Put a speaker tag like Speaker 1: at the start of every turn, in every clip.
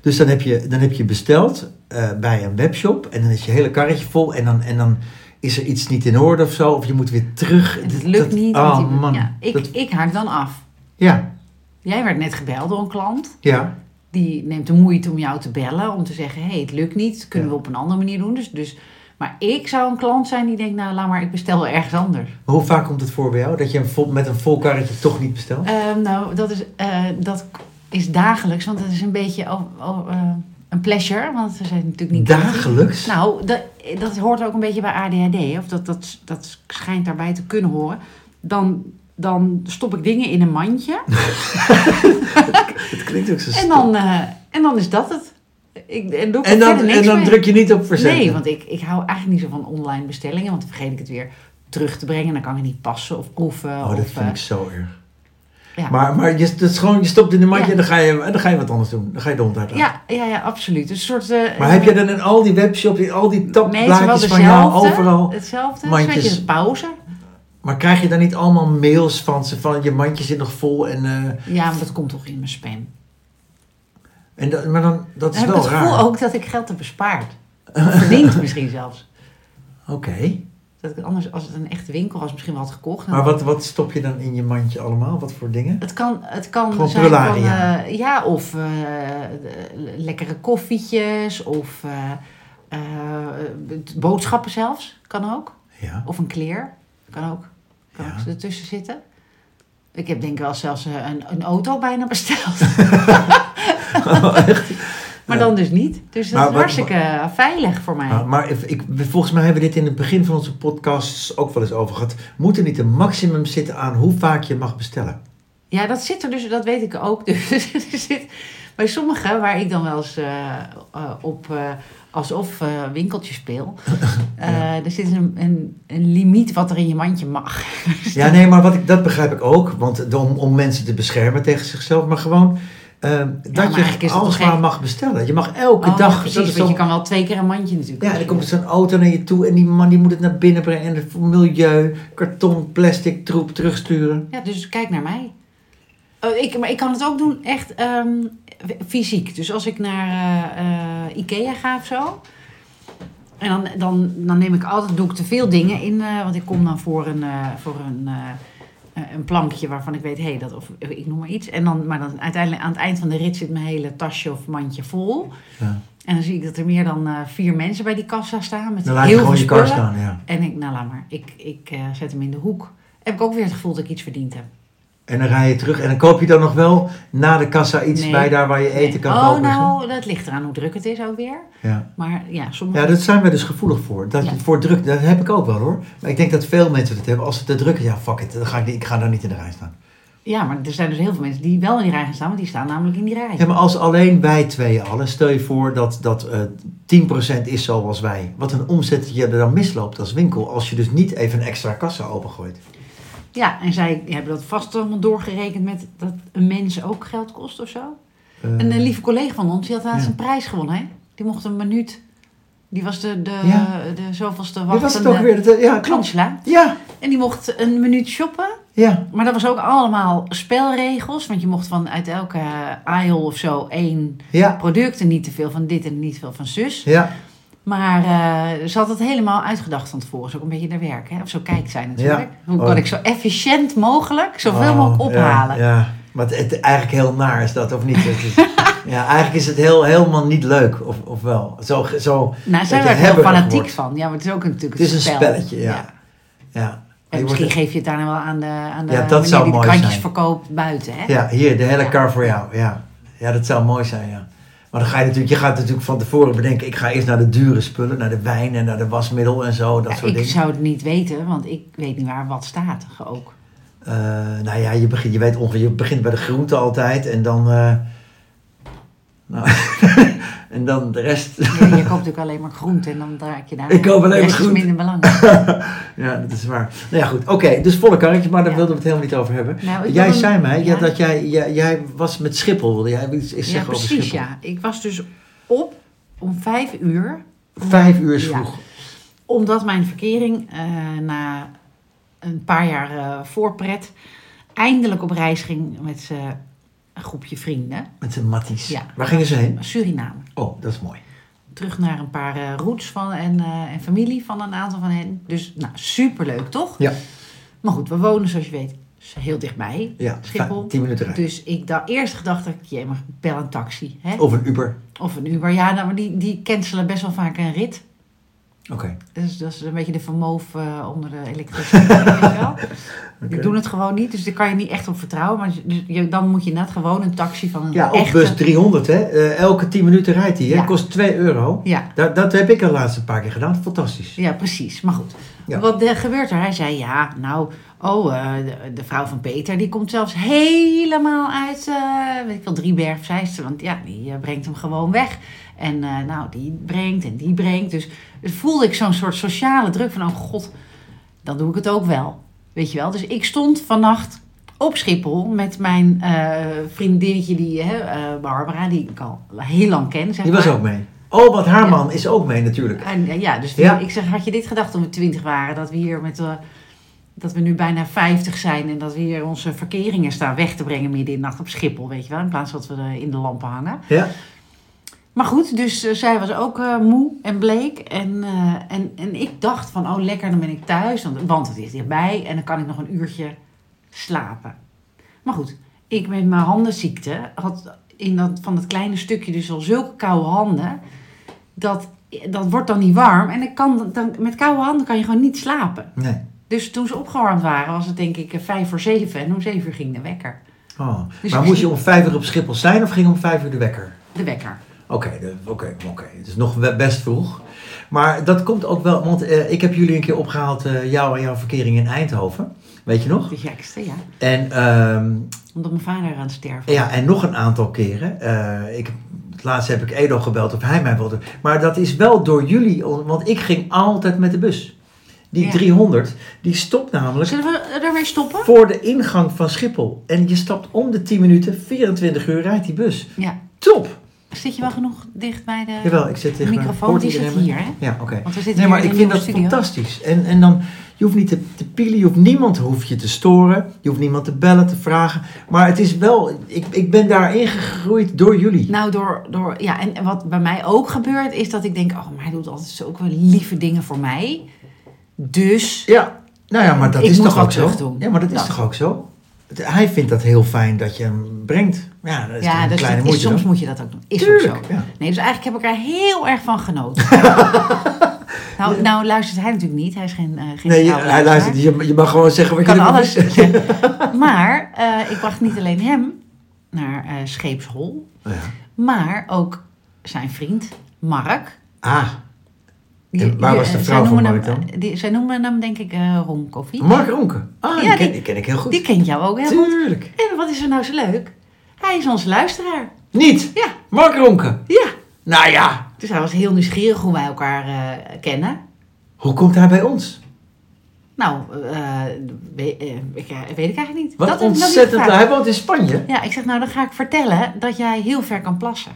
Speaker 1: Dus dan heb je, dan heb je besteld eh, bij een webshop en dan is je hele karretje vol en dan, en dan is er iets niet in orde of zo. Of je moet weer terug.
Speaker 2: En het
Speaker 1: Dat-
Speaker 2: lukt
Speaker 1: dat-
Speaker 2: niet. want
Speaker 1: Oh
Speaker 2: die-
Speaker 1: man.
Speaker 2: ja, ik,
Speaker 1: Dat-
Speaker 2: ik haak dan af.
Speaker 1: ja,
Speaker 2: Jij werd net gebeld door een klant.
Speaker 1: ja,
Speaker 2: Die neemt de moeite om jou te bellen. Om te zeggen, hé, hey, het lukt niet. Kunnen
Speaker 1: Ja.
Speaker 2: we op een andere manier doen. Dus, dus, maar ik zou een klant zijn die denkt, nou laat maar, ik bestel wel ergens anders.
Speaker 1: Maar hoe vaak komt het voor bij jou dat je een vol, met een vol karretje toch niet bestelt?
Speaker 2: Ehm, nou, dat is, eh, dat is dagelijks. Want dat is een beetje o- o- eh, een pleasure. Want we zijn natuurlijk niet...
Speaker 1: Dagelijks?
Speaker 2: Nou, dat, dat hoort ook een beetje bij ADHD, of dat, dat, dat schijnt daarbij te kunnen horen. Dan, dan stop ik dingen in een mandje
Speaker 1: het klinkt ook zo
Speaker 2: en
Speaker 1: stom.
Speaker 2: dan, eh, en dan is dat het. Ik, en doe ik
Speaker 1: Dus en
Speaker 2: er
Speaker 1: dan,
Speaker 2: verder niks
Speaker 1: en dan
Speaker 2: mee.
Speaker 1: druk je niet op verzenden.
Speaker 2: Nee, want ik, ik hou eigenlijk niet zo van online bestellingen, want dan vergeet ik het weer terug te brengen. Dan kan ik niet passen of proeven.
Speaker 1: Oh, dat
Speaker 2: of,
Speaker 1: vind
Speaker 2: eh,
Speaker 1: ik zo erg.
Speaker 2: ja.
Speaker 1: Maar, maar je, dat is gewoon, je stopt in de mandje
Speaker 2: Ja.
Speaker 1: en dan ga, je, en dan ga je wat anders doen. Dan ga je de hond uitlaten.
Speaker 2: ja, ja, ja, absoluut. Dus een soort, eh,
Speaker 1: Maar heb je dan in al die webshops, in al die
Speaker 2: nee, het is wel
Speaker 1: tabblaadjes van jou
Speaker 2: dezelfde,
Speaker 1: overal...
Speaker 2: Hetzelfde,
Speaker 1: mandjes.
Speaker 2: een beetje pauze.
Speaker 1: Maar krijg je dan niet allemaal mails van ze van je mandje zit nog vol en... eh,
Speaker 2: Ja, maar dat komt toch in mijn spam.
Speaker 1: en dat, maar dan, dat
Speaker 2: Dan
Speaker 1: is
Speaker 2: heb ik
Speaker 1: wel
Speaker 2: het
Speaker 1: raar.
Speaker 2: gevoel ook dat ik geld heb bespaard. Verdiend misschien zelfs.
Speaker 1: Oké,
Speaker 2: Dat ik het anders, als het een echte winkel was, misschien wel had gekocht.
Speaker 1: maar wat, wat stop je dan in je mandje allemaal? Wat voor dingen?
Speaker 2: Het kan, het kan
Speaker 1: Gewoon
Speaker 2: zijn van...
Speaker 1: prularia.
Speaker 2: eh, ja, of eh, de- lekkere koffietjes. Of eh, eh, het- boodschappen zelfs. Kan ook.
Speaker 1: Ja,
Speaker 2: Of een kleer. Kan ook. Kan
Speaker 1: Ja.
Speaker 2: ook ertussen zitten. Ik heb denk ik wel zelfs eh, een, een auto bijna besteld. Maar dan dus niet. Dus dat
Speaker 1: Oh, Maar
Speaker 2: is
Speaker 1: wat- Ah,
Speaker 2: hartstikke veilig voor mij.
Speaker 1: maar, maar if- ik, volgens mij hebben we dit in het begin van onze podcasts ook wel eens over gehad. Moet er niet een maximum zitten aan hoe vaak je mag bestellen?
Speaker 2: Ja, dat zit er dus, dat weet ik ook. Dus er zit bij sommigen waar ik dan wel eens eh, eh, op eh, alsof eh, winkeltje speel. eh, er zit een, een, een limiet wat er in je mandje mag.
Speaker 1: Ja, nee, maar wat ik, dat begrijp ik ook. Want om, om mensen te beschermen tegen zichzelf. Maar gewoon eh,
Speaker 2: maar
Speaker 1: dat
Speaker 2: eigenlijk
Speaker 1: je
Speaker 2: is dat
Speaker 1: alles
Speaker 2: toch
Speaker 1: maar
Speaker 2: gek?
Speaker 1: mag bestellen. Je mag elke
Speaker 2: Oh,
Speaker 1: dag... dat
Speaker 2: precies,
Speaker 1: is
Speaker 2: want je
Speaker 1: toch-
Speaker 2: kan wel twee keer een mandje natuurlijk.
Speaker 1: Ja, en dan komt zo'n auto naar je toe en die man die moet het naar binnen brengen. En het milieu, karton, plastic, troep terugsturen.
Speaker 2: Ja, dus kijk naar mij. Eh, ik, maar ik kan het ook doen echt ehm, fysiek. Dus als ik naar eh, eh, Ikea ga of zo. En dan, dan, dan neem ik altijd, doe ik te veel dingen in. eh, want ik kom dan voor een, eh, voor een, eh, eh, een plankje waarvan ik weet, hé, dat of eh, ik noem maar iets. En dan, maar dan uiteindelijk aan het eind van de rit zit mijn hele tasje of mandje vol.
Speaker 1: Ja.
Speaker 2: En dan zie ik dat er meer dan eh, vier mensen bij die kassa staan. Met
Speaker 1: Dan laat je
Speaker 2: heel
Speaker 1: gewoon
Speaker 2: veel
Speaker 1: je kar
Speaker 2: spullen.
Speaker 1: staan, ja.
Speaker 2: En ik, nou laat maar, ik, ik eh, zet hem in de hoek. Heb ik ook weer het gevoel dat ik iets verdiend heb.
Speaker 1: En dan rij je terug en dan koop je dan nog wel na de kassa iets
Speaker 2: Nee.
Speaker 1: bij daar waar je eten
Speaker 2: Nee.
Speaker 1: kan
Speaker 2: oh,
Speaker 1: kopen. en zo.
Speaker 2: nou, dat ligt eraan hoe druk het is ook weer.
Speaker 1: Ja.
Speaker 2: Maar ja, sommige...
Speaker 1: ja, dat zijn we dus gevoelig voor. Dat,
Speaker 2: Ja.
Speaker 1: Voor druk, dat heb ik ook wel hoor. Maar ik denk dat veel mensen dat hebben. Als het te druk is, ja fuck it, dan ga ik, niet- ik ga daar niet in de rij staan.
Speaker 2: ja, maar er zijn dus heel veel mensen die wel in die rij gaan staan, want die staan namelijk in die rij.
Speaker 1: Ja, maar als alleen wij tweeën allen, stel je voor dat, dat eh 10% is zoals wij. Wat een omzet je er dan misloopt als winkel, als je dus niet even een extra kassa opengooit.
Speaker 2: Ja, en zij hebben dat vast allemaal doorgerekend met dat een mens ook geld kost of zo.
Speaker 1: Eh,
Speaker 2: Een eh, lieve collega van ons, die had laatst
Speaker 1: ja.
Speaker 2: een prijs gewonnen, hè? Die mocht een minuut... Die was de, de,
Speaker 1: Ja.
Speaker 2: de zoveelste
Speaker 1: Eh, Dit was
Speaker 2: wachtende...
Speaker 1: het ook weer. Dat, ja, klopt.
Speaker 2: Angela.
Speaker 1: Ja,
Speaker 2: En die mocht een minuut shoppen.
Speaker 1: ja.
Speaker 2: Maar dat was ook allemaal spelregels. Want je mocht van uit elke aisle of zo één
Speaker 1: Ja.
Speaker 2: product. En niet te veel van dit en niet te veel van zus.
Speaker 1: Ja,
Speaker 2: Maar eh, ze had het helemaal uitgedacht van tevoren. Zo ook een beetje naar werk. Hè? Of zo kijkt zij natuurlijk.
Speaker 1: Ja.
Speaker 2: Hoe
Speaker 1: Oh.
Speaker 2: kan ik zo efficiënt mogelijk zoveel
Speaker 1: Oh,
Speaker 2: mogelijk
Speaker 1: ja,
Speaker 2: ophalen?
Speaker 1: Ja, Maar het, het- eigenlijk heel naar is dat, of niet? Het is- ja, eigenlijk is het heel, helemaal niet leuk, of, of wel? Zo, zo,
Speaker 2: Nou, zij
Speaker 1: dat je
Speaker 2: werd er heel
Speaker 1: hebberig
Speaker 2: fanatiek
Speaker 1: wordt.
Speaker 2: van. Ja, maar het is ook natuurlijk
Speaker 1: Het is een spelletje, ja. ja.
Speaker 2: En
Speaker 1: Je wordt-
Speaker 2: misschien geef je het daarna wel aan de, aan de
Speaker 1: Ja, dat
Speaker 2: meneer
Speaker 1: zou
Speaker 2: die de
Speaker 1: mooi
Speaker 2: krantjes
Speaker 1: zijn.
Speaker 2: verkoopt buiten. Hè?
Speaker 1: ja, hier, de hele
Speaker 2: Ja.
Speaker 1: kar voor jou. Ja. ja, dat zou mooi zijn, ja. Maar dan ga je natuurlijk, je gaat natuurlijk van tevoren bedenken, ik ga eerst naar de dure spullen, naar de wijn en naar de wasmiddel en zo, dat
Speaker 2: Ja,
Speaker 1: soort
Speaker 2: ik
Speaker 1: dingen.
Speaker 2: zou het niet weten, want ik weet niet waar wat staat ook.
Speaker 1: Eh, nou ja, je, begint, je weet ongeveer, je begint bij de groente altijd en dan... eh, nou, en dan de rest...
Speaker 2: Ja, je koopt natuurlijk alleen maar groente en dan draak je daar.
Speaker 1: Ik koop alleen
Speaker 2: De
Speaker 1: maar
Speaker 2: rest
Speaker 1: groente.
Speaker 2: is minder belangrijk.
Speaker 1: Ja, dat is waar. Nou ja, goed. Oké, dus volle karretje, maar daar
Speaker 2: Ja.
Speaker 1: wilden we het helemaal niet over hebben.
Speaker 2: Nou, ik
Speaker 1: jij
Speaker 2: wil een-
Speaker 1: zei mij ja,
Speaker 2: ja.
Speaker 1: dat jij, jij, jij was met Schiphol, wilde jij iets iets
Speaker 2: Ja,
Speaker 1: zeggen over
Speaker 2: precies.
Speaker 1: Schiphol?
Speaker 2: Ja. Ik was dus op om vijf uur,
Speaker 1: Vijf uur is
Speaker 2: Ja.
Speaker 1: vroeg.
Speaker 2: omdat mijn verkering eh, na een paar jaar eh voorpret eindelijk op reis ging met zijn een groepje vrienden.
Speaker 1: Met zijn matties.
Speaker 2: Ja.
Speaker 1: Waar gingen ze heen?
Speaker 2: Suriname.
Speaker 1: Oh, dat is mooi.
Speaker 2: Terug naar een paar eh, roots van, en, eh, en familie van een aantal van hen. Dus nou, superleuk toch?
Speaker 1: Ja.
Speaker 2: Maar goed, we wonen zoals je weet heel dichtbij.
Speaker 1: Ja,
Speaker 2: Schiphol.
Speaker 1: fi- tien minuten rijden.
Speaker 2: Dus ik dacht, eerst gedacht ik, je mag bel een taxi. Hè?
Speaker 1: Of een Uber.
Speaker 2: Of een Uber. Ja, nou, maar die, die cancelen best wel vaak een rit.
Speaker 1: Oké.
Speaker 2: Dus dat is een beetje de vermoof eh, onder de elektriciteit. weet je wel. Die
Speaker 1: Oké.
Speaker 2: doen het gewoon niet, dus daar kan je niet echt op vertrouwen. Maar dus je, dan moet je net gewoon een taxi van een
Speaker 1: Ja, op
Speaker 2: echte...
Speaker 1: bus 300, hè. Eh, elke 10 minuten rijdt hij, hè.
Speaker 2: Ja.
Speaker 1: Kost 2 euro.
Speaker 2: Ja,
Speaker 1: Dat, dat heb ik al laatst een paar keer gedaan. Fantastisch.
Speaker 2: ja, precies. Maar goed,
Speaker 1: Ja.
Speaker 2: wat eh, gebeurt er? Hij zei, ja, nou, oh, eh, de, de vrouw van Peter, die komt zelfs helemaal uit, eh weet ik wel, Drieberg, zei ze. Want ja, die eh, brengt hem gewoon weg. En eh, nou, die brengt en die brengt. Dus voelde ik zo'n soort sociale druk van, oh god, dan doe ik het ook wel. Weet je wel, dus ik stond vannacht op Schiphol met mijn eh, vriendinnetje, die, hè, eh, Barbara, die ik al heel lang ken. Zeg
Speaker 1: Die was
Speaker 2: maar.
Speaker 1: ook mee. Oh, want haar
Speaker 2: Ja.
Speaker 1: man is ook mee natuurlijk.
Speaker 2: En, eh, ja, dus die-
Speaker 1: Ja.
Speaker 2: ik zeg, had je dit gedacht toen we twintig waren? Dat we hier met... eh, dat we nu bijna 50 zijn en dat we hier onze verkeringen staan weg te brengen midden in de nacht op Schiphol, weet je wel. In plaats dat we eh, in de lampen hangen.
Speaker 1: Ja?
Speaker 2: Maar goed, dus eh, zij was ook eh, moe en bleek. En, eh, en, en ik dacht van, oh lekker, dan ben ik thuis, want, want het is dichtbij. En dan kan ik nog een uurtje slapen. Maar goed, ik met mijn handenziekte had in dat, van dat kleine stukje dus al zulke koude handen. Dat, dat wordt dan niet warm. En ik kan, dan, met koude handen kan je gewoon niet slapen.
Speaker 1: Nee.
Speaker 2: Dus toen ze opgewarmd waren, was het denk ik eh, vijf voor zeven. En om zeven uur ging de wekker.
Speaker 1: Oh.
Speaker 2: Dus
Speaker 1: maar
Speaker 2: ik-
Speaker 1: moest je om 5 uur op Schiphol zijn of ging om 5 uur de wekker?
Speaker 2: De wekker.
Speaker 1: Oké, de- oké, oké. Het is nog we- best vroeg. Maar dat komt ook wel, want eh, ik heb jullie een keer opgehaald, eh, jou en jouw verkering in Eindhoven. Weet je nog?
Speaker 2: De gekste, ja.
Speaker 1: En, ehm,
Speaker 2: Omdat mijn vader aan het sterven was.
Speaker 1: ja, en nog een aantal keren. Eh, ik, het laatste heb ik Edo gebeld of hij mij wilde. Maar dat is wel door jullie, on- want ik ging altijd met de bus. Die
Speaker 2: Ja.
Speaker 1: 300, die stopt namelijk
Speaker 2: Zullen we daarmee stoppen?
Speaker 1: voor de ingang van Schiphol. En je stapt om de 10 minuten, 24 uur rijdt die bus.
Speaker 2: Ja.
Speaker 1: Top!
Speaker 2: Zit je wel genoeg dicht bij de...
Speaker 1: Jawel, ik zit tegen
Speaker 2: De
Speaker 1: mijn-
Speaker 2: microfoon,
Speaker 1: hoort
Speaker 2: die zit
Speaker 1: iedereen me?
Speaker 2: hier, hè?
Speaker 1: Ja, oké.
Speaker 2: Want we zitten
Speaker 1: Nee,
Speaker 2: hier
Speaker 1: maar
Speaker 2: in
Speaker 1: ik
Speaker 2: een
Speaker 1: vind
Speaker 2: nieuwe
Speaker 1: dat
Speaker 2: studio.
Speaker 1: fantastisch. En, en dan, je hoeft niet te, te pielen, je hoeft niemand hoef je te storen. Je hoeft niemand te bellen, te vragen. Maar het is wel, ik, ik ben daarin gegroeid door jullie.
Speaker 2: Nou, door, door... Ja, en wat bij mij ook gebeurt, is dat ik denk... Oh, maar hij doet altijd zo ook wel lieve dingen voor mij. Dus...
Speaker 1: ja, nou ja, maar dat
Speaker 2: Ik
Speaker 1: is
Speaker 2: moet
Speaker 1: toch
Speaker 2: wat
Speaker 1: ook zo?
Speaker 2: terug doen.
Speaker 1: Ja, maar dat is
Speaker 2: Ja.
Speaker 1: toch ook zo? Het- hij vindt dat heel fijn dat je hem brengt. Ja, dat is toch
Speaker 2: Ja,
Speaker 1: een
Speaker 2: dus
Speaker 1: kleine
Speaker 2: dat is,
Speaker 1: moeite
Speaker 2: soms
Speaker 1: dan?
Speaker 2: moet je dat ook doen. Is ook
Speaker 1: Tuurlijk,
Speaker 2: zo.
Speaker 1: ja.
Speaker 2: Nee, dus eigenlijk heb ik er heel erg van genoten. nou, nou luistert hij natuurlijk niet. Hij is geen, eh geen
Speaker 1: Nee, je-
Speaker 2: trouwe
Speaker 1: hij luistert.
Speaker 2: luisteraar.
Speaker 1: Je, je mag gewoon zeggen wat je
Speaker 2: Kan
Speaker 1: wil.
Speaker 2: alles. maar eh, ik bracht niet alleen hem naar eh, Scheepshol.
Speaker 1: Ja.
Speaker 2: Maar ook zijn vriend, Mark.
Speaker 1: Ah,
Speaker 2: Die-
Speaker 1: En waar
Speaker 2: die-
Speaker 1: was de
Speaker 2: eh,
Speaker 1: vrouw
Speaker 2: zij
Speaker 1: van
Speaker 2: noemen
Speaker 1: Mark
Speaker 2: hem- die- zij noemen hem denk ik eh Ron Koffie.
Speaker 1: Mark Ronken. Ah, die,
Speaker 2: Ja,
Speaker 1: ken,
Speaker 2: die-
Speaker 1: die ken ik heel goed.
Speaker 2: Die kent jou ook heel goed.
Speaker 1: Tuurlijk.
Speaker 2: En wat is er nou zo leuk? Hij is onze luisteraar.
Speaker 1: Niet?
Speaker 2: Ja,
Speaker 1: Mark Ronken.
Speaker 2: ja.
Speaker 1: Nou ja,
Speaker 2: Dus hij was heel nieuwsgierig hoe wij elkaar eh, kennen.
Speaker 1: hoe komt hij bij ons?
Speaker 2: Nou, eh, we- eh, ik, eh, weet ik eigenlijk niet.
Speaker 1: Wat
Speaker 2: Dat heb ik nog niet
Speaker 1: ontzettend.
Speaker 2: gevraagd.
Speaker 1: Hij woont in Spanje.
Speaker 2: Ja, ik zeg nou, dan ga ik vertellen dat jij heel ver kan plassen.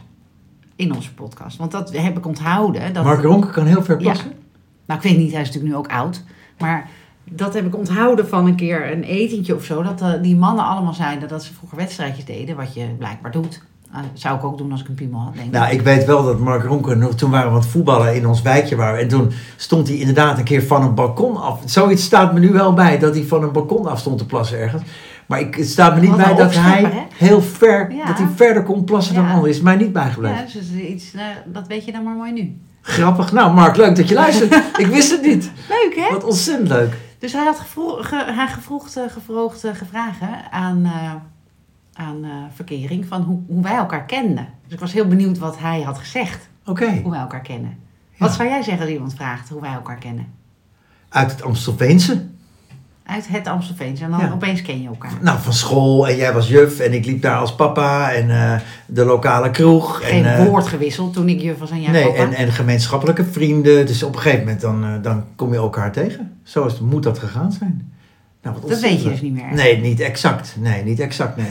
Speaker 2: In onze podcast. Want dat heb ik onthouden. Dat
Speaker 1: Mark Ronken kan heel ver
Speaker 2: Ja.
Speaker 1: plassen.
Speaker 2: Nou, ik weet niet, hij is natuurlijk nu ook oud. Maar dat heb ik onthouden van een keer een etentje of zo. Dat eh, die mannen allemaal zeiden dat ze vroeger wedstrijdjes deden. Wat je blijkbaar doet. Ah, zou ik ook doen als ik een piemel had, denk ik.
Speaker 1: Nou, ik weet wel dat Mark Ronken, nog- toen waren we aan het voetballen in ons wijkje waren. En toen stond hij inderdaad een keer van een balkon af. Zoiets staat me nu wel bij, dat hij van een balkon af stond te plassen ergens. Maar ik, het staat me niet
Speaker 2: Wat
Speaker 1: bij
Speaker 2: een
Speaker 1: dat hij
Speaker 2: opschepper,
Speaker 1: heel ver,
Speaker 2: Ja.
Speaker 1: dat hij verder kon plassen dan
Speaker 2: Ja.
Speaker 1: anderen. Is mij niet bijgebleven.
Speaker 2: ja, dus dat is iets, eh, dat weet je dan maar mooi nu.
Speaker 1: Grappig. Nou, Mark, leuk dat je luistert. ik wist het niet.
Speaker 2: Leuk, hè?
Speaker 1: Wat ontzettend leuk.
Speaker 2: Dus hij had gevro- ge- haar gevroegd, eh, gevroogd, eh, gevragen aan, eh, aan eh, verkering van hoe, hoe wij elkaar kenden. Dus ik was heel benieuwd wat hij had gezegd,
Speaker 1: Oké.
Speaker 2: hoe wij elkaar kennen.
Speaker 1: Ja.
Speaker 2: Wat zou jij zeggen als iemand vraagt hoe wij elkaar kennen?
Speaker 1: Uit het Amstelveense.
Speaker 2: Uit het Amstelveens en dan
Speaker 1: Ja.
Speaker 2: opeens ken je elkaar.
Speaker 1: Nou, van school en jij was juf en ik liep daar als papa en eh, de lokale kroeg.
Speaker 2: geen
Speaker 1: en, eh,
Speaker 2: woord gewisseld toen ik juf was en jij
Speaker 1: nee,
Speaker 2: papa.
Speaker 1: en, en gemeenschappelijke vrienden. Dus op een gegeven moment dan, eh, dan kom je elkaar tegen. Zo is, moet dat gegaan zijn. Nou, wat
Speaker 2: dat weet je dus
Speaker 1: ontzettend.
Speaker 2: niet meer.
Speaker 1: Nee, niet exact. Nee, niet exact. Nee.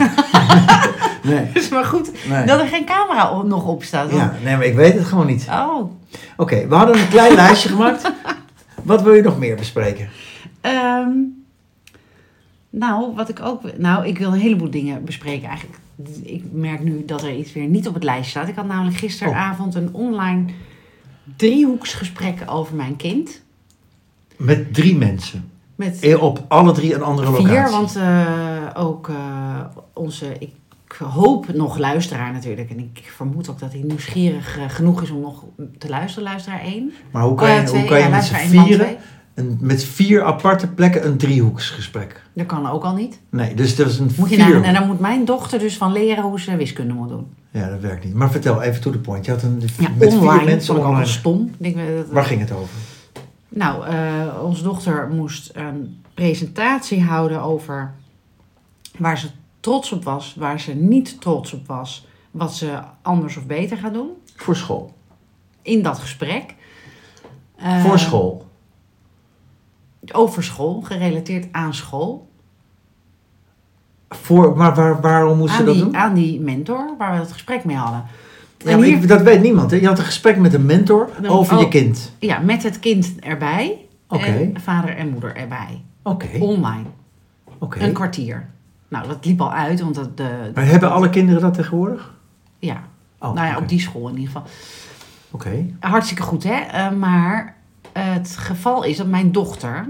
Speaker 1: nee.
Speaker 2: Dus maar goed
Speaker 1: Nee.
Speaker 2: dat er geen camera op- nog op staat. want-
Speaker 1: Ja, nee, maar ik weet het gewoon niet.
Speaker 2: Oh.
Speaker 1: Oké, we hadden een klein lijstje gemaakt. Wat wil je nog meer bespreken?
Speaker 2: Ehm, nou, wat ik ook... Nou, ik wil een heleboel dingen bespreken eigenlijk. ik merk nu dat er iets weer niet op het lijstje staat. Ik had
Speaker 1: Oh.
Speaker 2: namelijk gisteravond een online driehoeksgesprek over mijn kind.
Speaker 1: Met drie mensen.
Speaker 2: Met
Speaker 1: Eh, Op alle drie een andere locatie.
Speaker 2: Vier, want eh, ook eh, onze, ik hoop nog luisteraar natuurlijk. En ik vermoed ook dat hij nieuwsgierig eh, genoeg is om nog te luisteren, luisteraar 1.
Speaker 1: Maar hoe kan je, hoe kan je met z'n vieren, een, met vier aparte plekken, een driehoeksgesprek?
Speaker 2: Dat kan ook al niet.
Speaker 1: Nee, dus dat is een
Speaker 2: Moet je
Speaker 1: vier.
Speaker 2: nagaan. en daar moet mijn dochter dus van leren hoe ze wiskunde moet doen.
Speaker 1: Ja, dat werkt niet. Maar vertel, even to the point. Je had een,
Speaker 2: Ja,
Speaker 1: met
Speaker 2: online.
Speaker 1: vier mensen
Speaker 2: vond ik ook wel
Speaker 1: online.
Speaker 2: stom. Ik Denk, eh, dat-
Speaker 1: Waar ging het over?
Speaker 2: Nou, eh onze dochter moest een presentatie houden over waar ze trots op was, waar ze niet trots op was, wat ze anders of beter gaat doen.
Speaker 1: Voor school.
Speaker 2: In dat gesprek. Eh,
Speaker 1: Voor school.
Speaker 2: Over school, gerelateerd aan school.
Speaker 1: Voor, maar waar, waarom moest
Speaker 2: aan,
Speaker 1: ze dat
Speaker 2: die,
Speaker 1: doen?
Speaker 2: aan die mentor waar we dat gesprek mee hadden.
Speaker 1: Ja,
Speaker 2: en
Speaker 1: maar
Speaker 2: hier-
Speaker 1: ik- dat weet niemand. Hè? Je had een gesprek met een mentor
Speaker 2: Dan-
Speaker 1: over
Speaker 2: oh.
Speaker 1: je kind.
Speaker 2: Ja, met het kind erbij.
Speaker 1: Oké.
Speaker 2: En vader en moeder erbij.
Speaker 1: Oké,
Speaker 2: Online.
Speaker 1: oké.
Speaker 2: Een kwartier. Nou, dat liep al uit, want dat, de,
Speaker 1: Maar hebben alle kinderen dat tegenwoordig?
Speaker 2: ja.
Speaker 1: Oh,
Speaker 2: nou ja,
Speaker 1: oké.
Speaker 2: op die school in ieder geval.
Speaker 1: Oké.
Speaker 2: Hartstikke goed, hè? Eh, maar het geval is dat mijn dochter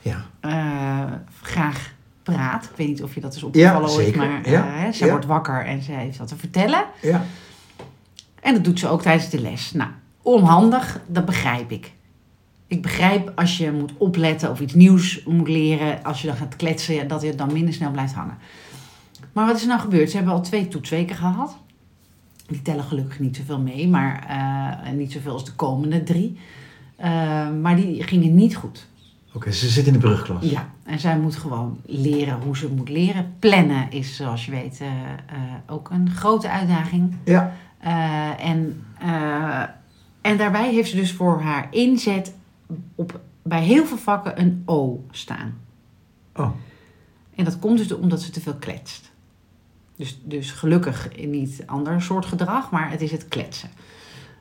Speaker 1: Ja.
Speaker 2: eh, graag praat. Ik weet niet of je dat is
Speaker 1: Ja,
Speaker 2: opgevallen ooit,
Speaker 1: zeker.
Speaker 2: maar
Speaker 1: Ja,
Speaker 2: eh, ze
Speaker 1: ja.
Speaker 2: wordt wakker en ze heeft wat te vertellen.
Speaker 1: Ja.
Speaker 2: En dat doet ze ook tijdens de les. Nou, onhandig, dat begrijp ik. Ik begrijp als je moet opletten of iets nieuws moet leren, als je dan gaat kletsen, dat het dan minder snel blijft hangen. Maar wat is er nou gebeurd? Ze hebben al twee toetsweken gehad. Die tellen gelukkig niet zoveel mee, maar eh, niet zoveel als de komende drie. Eh, maar die gingen niet goed.
Speaker 1: Oké, ze zit in de brugklas.
Speaker 2: Ja, en zij moet gewoon leren hoe ze moet leren. Plannen is, zoals je weet, eh, eh, ook een grote uitdaging.
Speaker 1: Ja.
Speaker 2: Eh, en, eh, en daarbij heeft ze dus voor haar inzet op, bij heel veel vakken een O staan.
Speaker 1: Oh,
Speaker 2: En dat komt dus omdat ze te veel kletst. Dus, dus gelukkig niet ander soort gedrag, maar het is het kletsen.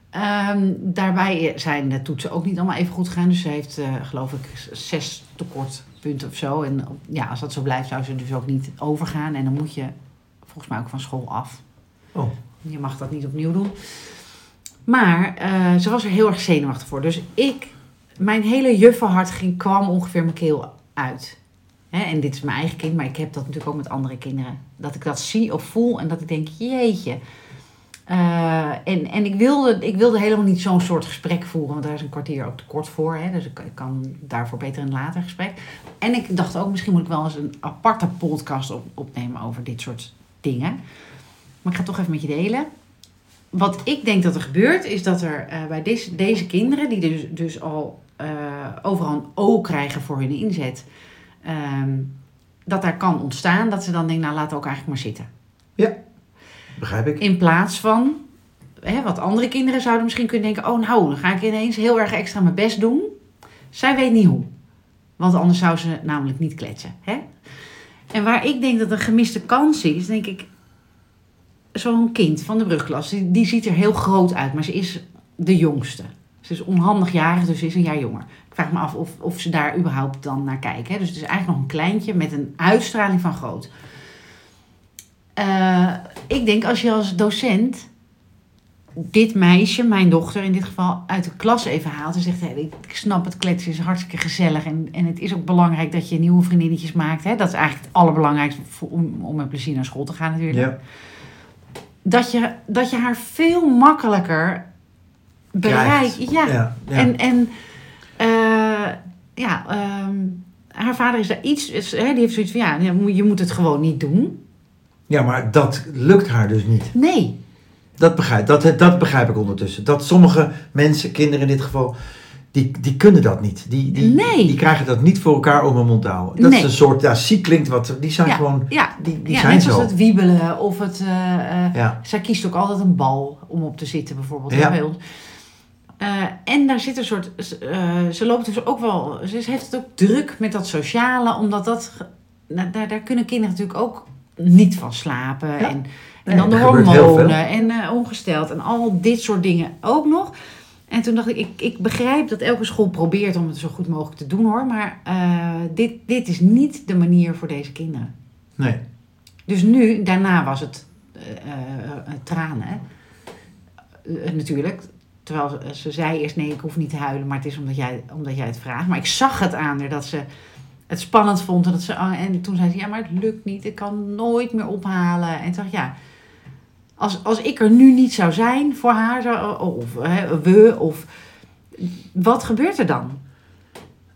Speaker 2: Ehm, daarbij zijn de toetsen ook niet allemaal even goed gegaan. Dus ze heeft, eh, geloof ik, z- zes tekortpunten of zo. En op- ja, als dat zo blijft, zou ze dus ook niet overgaan. En dan moet je volgens mij ook van school af.
Speaker 1: oh.
Speaker 2: Je mag dat niet opnieuw doen. Maar eh, ze was er heel erg zenuwachtig voor. Dus ik, mijn hele juffenhart ging, kwam ongeveer mijn keel uit. Hè, en dit is mijn eigen kind, maar ik heb dat natuurlijk ook met andere kinderen. Dat ik dat zie of voel en dat ik denk, jeetje. Eh, en en ik, wilde, ik wilde helemaal niet zo'n soort gesprek voeren, want daar is een kwartier ook te kort voor. Hè, dus ik, ik kan daarvoor beter een later gesprek. En ik dacht ook, misschien moet ik wel eens een aparte podcast op, opnemen over dit soort dingen. Maar ik ga het toch even met je delen. Wat ik denk dat er gebeurt, is dat er eh, bij deze, deze kinderen, die dus, dus al eh, overal een O krijgen voor hun inzet, ehm, dat daar kan ontstaan dat ze dan denken, nou laat ook eigenlijk maar zitten.
Speaker 1: Begrijp ik.
Speaker 2: In plaats van, hè, wat andere kinderen zouden misschien kunnen denken, oh nou, dan ga ik ineens heel erg extra mijn best doen. Zij weet niet hoe. Want anders zou ze namelijk niet kletsen. Hè? En waar ik denk dat een gemiste kans is, denk ik, zo'n kind van de brugklas, die, die ziet er heel groot uit, maar ze is de jongste. Ze is onhandig jarig, dus ze is een jaar jonger. Ik vraag me af of, of ze daar überhaupt dan naar kijken. Hè? Dus het is eigenlijk nog een kleintje met een uitstraling van groot. Eh, ik denk als je als docent dit meisje, mijn dochter in dit geval, uit de klas even haalt en zegt: hé, ik, ik snap het kletsen is hartstikke gezellig en, en het is ook belangrijk dat je nieuwe vriendinnetjes maakt. Hè? Dat is eigenlijk het allerbelangrijkste voor- om, om met plezier naar school te gaan natuurlijk
Speaker 1: Ja.
Speaker 2: dat je, dat je haar veel makkelijker bereikt.
Speaker 1: Krijgt.
Speaker 2: Ja.
Speaker 1: Ja. ja.
Speaker 2: En, en eh, ja, ehm, haar vader is daar iets, is, hè, die heeft zoiets van ja, je moet- je moet het gewoon niet doen.
Speaker 1: ja, maar dat lukt haar dus niet.
Speaker 2: Nee.
Speaker 1: Dat begrijp, dat, dat begrijp ik ondertussen. Dat sommige mensen, kinderen in dit geval, die, die kunnen dat niet. Die, die,
Speaker 2: Nee.
Speaker 1: die krijgen dat niet voor elkaar om hun mond te houden. Dat is
Speaker 2: Nee.
Speaker 1: een soort, ja, ziek klinkt wat, die zijn
Speaker 2: ja,
Speaker 1: gewoon,
Speaker 2: ja.
Speaker 1: die, die
Speaker 2: Ja,
Speaker 1: zijn
Speaker 2: net
Speaker 1: zo.
Speaker 2: zoals het wiebelen of het. eh, eh,
Speaker 1: Ja,
Speaker 2: Zij kiest ook altijd een bal om op te zitten, bijvoorbeeld hè,
Speaker 1: Ja.
Speaker 2: bij ons. Eh, en daar zit een soort. s- eh, ze loopt dus ook wel. Ze is- heeft het ook druk met dat sociale, omdat dat. ge- nou, daar, daar kunnen kinderen natuurlijk ook niet van slapen. En,
Speaker 1: Nee,
Speaker 2: en dan de
Speaker 1: er gebeurt heel
Speaker 2: hormonen en eh, ongesteld en al dit soort dingen ook nog. En toen dacht ik, ik, ik begrijp dat elke school probeert om het zo goed mogelijk te doen hoor. Maar eh, dit, dit is niet de manier voor deze kinderen.
Speaker 1: nee.
Speaker 2: Dus nu, daarna was het eh, eh, eh, tranen. Eh, natuurlijk. Terwijl ze, ze zei eerst nee, ik hoef niet te huilen, maar het is omdat jij, omdat jij het vraagt. Maar ik zag het aan haar dat ze het spannend vond. En, dat ze, oh, en toen zei ze, ja, maar het lukt niet. Ik kan nooit meer ophalen. En toen dacht ik, ja, als, als ik er nu niet zou zijn voor haar, zou, of hè, we, of wat gebeurt er dan?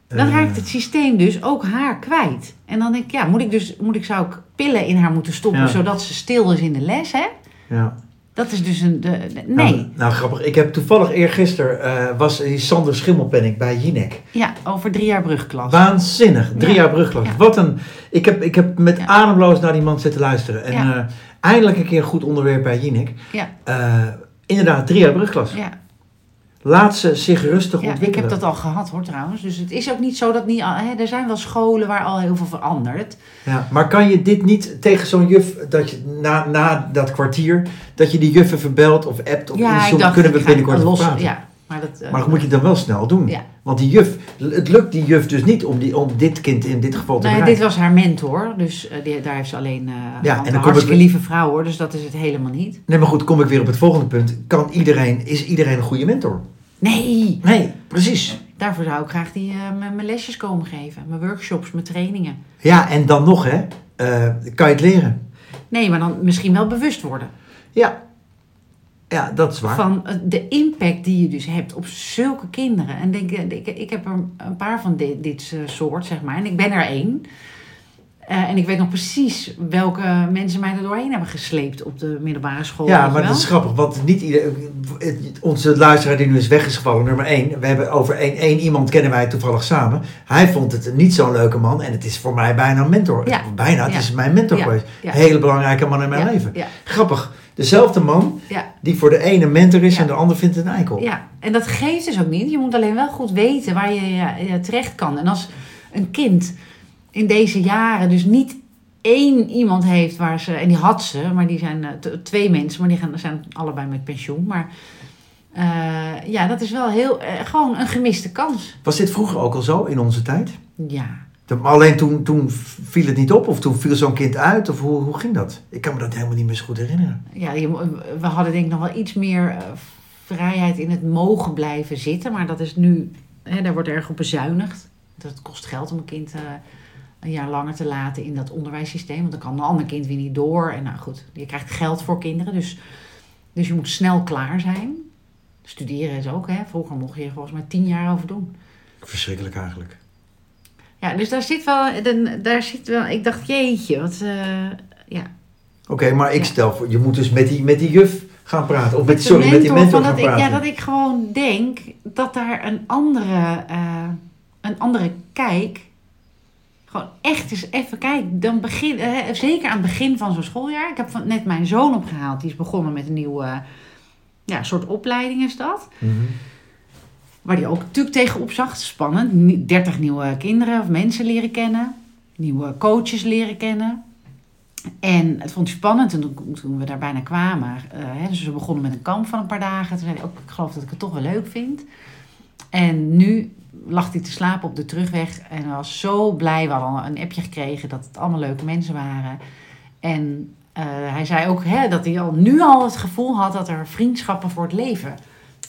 Speaker 2: Dan
Speaker 1: Eh,
Speaker 2: raakt het systeem dus ook haar kwijt. En dan denk ik, ja, moet ik dus, moet ik, zou ik pillen in haar moeten stoppen,
Speaker 1: Ja.
Speaker 2: zodat ze stil is in de les, hè?
Speaker 1: Ja.
Speaker 2: Dat is dus een, de, de- nee.
Speaker 1: Nou, nou, grappig. Ik heb toevallig eergisteren eh was die Sander Schimmelpenninck bij Jinek.
Speaker 2: Ja, over drie jaar brugklas.
Speaker 1: Waanzinnig. Drie
Speaker 2: Ja.
Speaker 1: jaar brugklas.
Speaker 2: Ja.
Speaker 1: Wat een... Ik heb, ik heb met
Speaker 2: Ja.
Speaker 1: ademloos naar die man zitten luisteren. En
Speaker 2: Ja.
Speaker 1: eh, eindelijk een keer een goed onderwerp bij Jinek.
Speaker 2: Ja,
Speaker 1: Eh, inderdaad, drie jaar brugklas.
Speaker 2: ja,
Speaker 1: Laat ze zich rustig
Speaker 2: ja, ik
Speaker 1: ontwikkelen.
Speaker 2: heb dat al gehad hoor trouwens. Dus het is ook niet zo dat niet al, hè, er zijn wel scholen waar al heel veel verandert.
Speaker 1: Ja, maar kan je dit niet tegen zo'n juf, dat je na, na dat kwartier, dat je die juffen verbelt of appt of
Speaker 2: ja,
Speaker 1: inzoomt, kunnen we
Speaker 2: ik ga
Speaker 1: binnenkort
Speaker 2: los-
Speaker 1: over praten.
Speaker 2: Ja, maar dat, eh,
Speaker 1: Maar dat moet je dan wel snel doen.
Speaker 2: Ja.
Speaker 1: Want die juf, het lukt die juf dus niet om, die, om dit kind in dit geval te
Speaker 2: Nee, Nou dit
Speaker 1: bereiken.
Speaker 2: was haar mentor, dus eh, die, daar heeft ze alleen eh
Speaker 1: dan
Speaker 2: ja,
Speaker 1: kom
Speaker 2: een
Speaker 1: ik
Speaker 2: hartstikke
Speaker 1: weer-
Speaker 2: lieve vrouw hoor, dus dat is het helemaal niet.
Speaker 1: Nee, maar goed, kom ik weer op het volgende punt. Kan iedereen, is iedereen een goede mentor?
Speaker 2: Nee,
Speaker 1: Nee, precies.
Speaker 2: daarvoor zou ik graag die, eh, mijn mijn lesjes komen geven, mijn workshops, mijn trainingen.
Speaker 1: Ja, en dan nog, hè, eh, kan je het leren?
Speaker 2: Nee, maar dan misschien wel bewust worden
Speaker 1: Ja. Ja, dat is waar.
Speaker 2: van eh, de impact die je dus hebt op zulke kinderen. En denk, eh, ik, ik heb er een paar van dit, dit eh, soort, zeg maar, en ik ben er één. Eh, en ik weet nog precies welke mensen mij er doorheen hebben gesleept op de middelbare school. weet
Speaker 1: Ja,
Speaker 2: je
Speaker 1: maar
Speaker 2: wel.
Speaker 1: dat is grappig, want niet ieder, het- onze luisteraar die nu is weggevallen, nummer één. We hebben over één, één iemand kennen wij toevallig samen. Hij vond het niet zo'n leuke man en het is voor mij bijna een mentor.
Speaker 2: Ja.
Speaker 1: Bijna, het
Speaker 2: Ja.
Speaker 1: is mijn mentor
Speaker 2: Ja.
Speaker 1: geweest.
Speaker 2: Ja.
Speaker 1: Hele belangrijke man in mijn
Speaker 2: Ja.
Speaker 1: leven.
Speaker 2: Ja.
Speaker 1: Grappig, dezelfde man
Speaker 2: Ja.
Speaker 1: die voor de ene mentor is
Speaker 2: Ja.
Speaker 1: en de ander vindt een eikel.
Speaker 2: Ja, en dat geeft dus ook niet. Je moet alleen wel goed weten waar je ja, ja, terecht kan. En als een kind in deze jaren dus niet één iemand heeft waar ze... En die had ze, maar die zijn eh, t- twee mensen, maar die gaan, zijn allebei met pensioen. Maar eh, ja, dat is wel heel... eh, gewoon een gemiste kans.
Speaker 1: Was dit vroeger ook al zo in onze tijd?
Speaker 2: Ja.
Speaker 1: De- Alleen toen, toen viel het niet op of toen viel zo'n kind uit of hoe, hoe ging dat? Ik kan me dat helemaal niet meer zo goed herinneren.
Speaker 2: ja je mo- we hadden denk ik nog wel iets meer eh, vrijheid in het mogen blijven zitten. Maar dat is nu... Hè, daar wordt erg op bezuinigd. Dat kost geld om een kind... eh, een jaar langer te laten in dat onderwijssysteem. Want dan kan een ander kind weer niet door. En nou goed, je krijgt geld voor kinderen. Dus, dus je moet snel klaar zijn. Studeren is ook, hè. Vroeger mocht je er volgens mij tien jaar over doen.
Speaker 1: Verschrikkelijk eigenlijk.
Speaker 2: Ja, dus daar zit wel... dan- Daar zit wel ik dacht, jeetje, wat... eh, ja.
Speaker 1: Oké, maar ik
Speaker 2: Ja.
Speaker 1: stel voor, je moet dus met die, met die juf gaan praten. Of met, sorry,
Speaker 2: de
Speaker 1: met die mentor
Speaker 2: van
Speaker 1: gaan
Speaker 2: dat ik,
Speaker 1: praten.
Speaker 2: ja, dat ik gewoon denk dat daar een andere, eh, een andere kijk... Gewoon echt eens even kijken. Dan begin, eh, zeker aan het begin van zo'n schooljaar. Ik heb van, net mijn zoon opgehaald. Die is begonnen met een nieuwe eh, ja, soort opleiding is dat.
Speaker 1: Mhm.
Speaker 2: Waar die ook natuurlijk tegenop zag. Spannend. Nie- 30 nieuwe kinderen of mensen leren kennen. Nieuwe coaches leren kennen. En het vond hij spannend. En toen, toen we daar bijna kwamen. eh, hè, dus we begonnen met een kamp van een paar dagen. Toen zei hij ook, ik geloof dat ik het toch wel leuk vind. En nu lag hij te slapen op de terugweg. En hij was zo blij. We hadden al een appje gekregen dat het allemaal leuke mensen waren. En eh, hij zei ook hè, dat hij al, nu al het gevoel had dat er vriendschappen voor het leven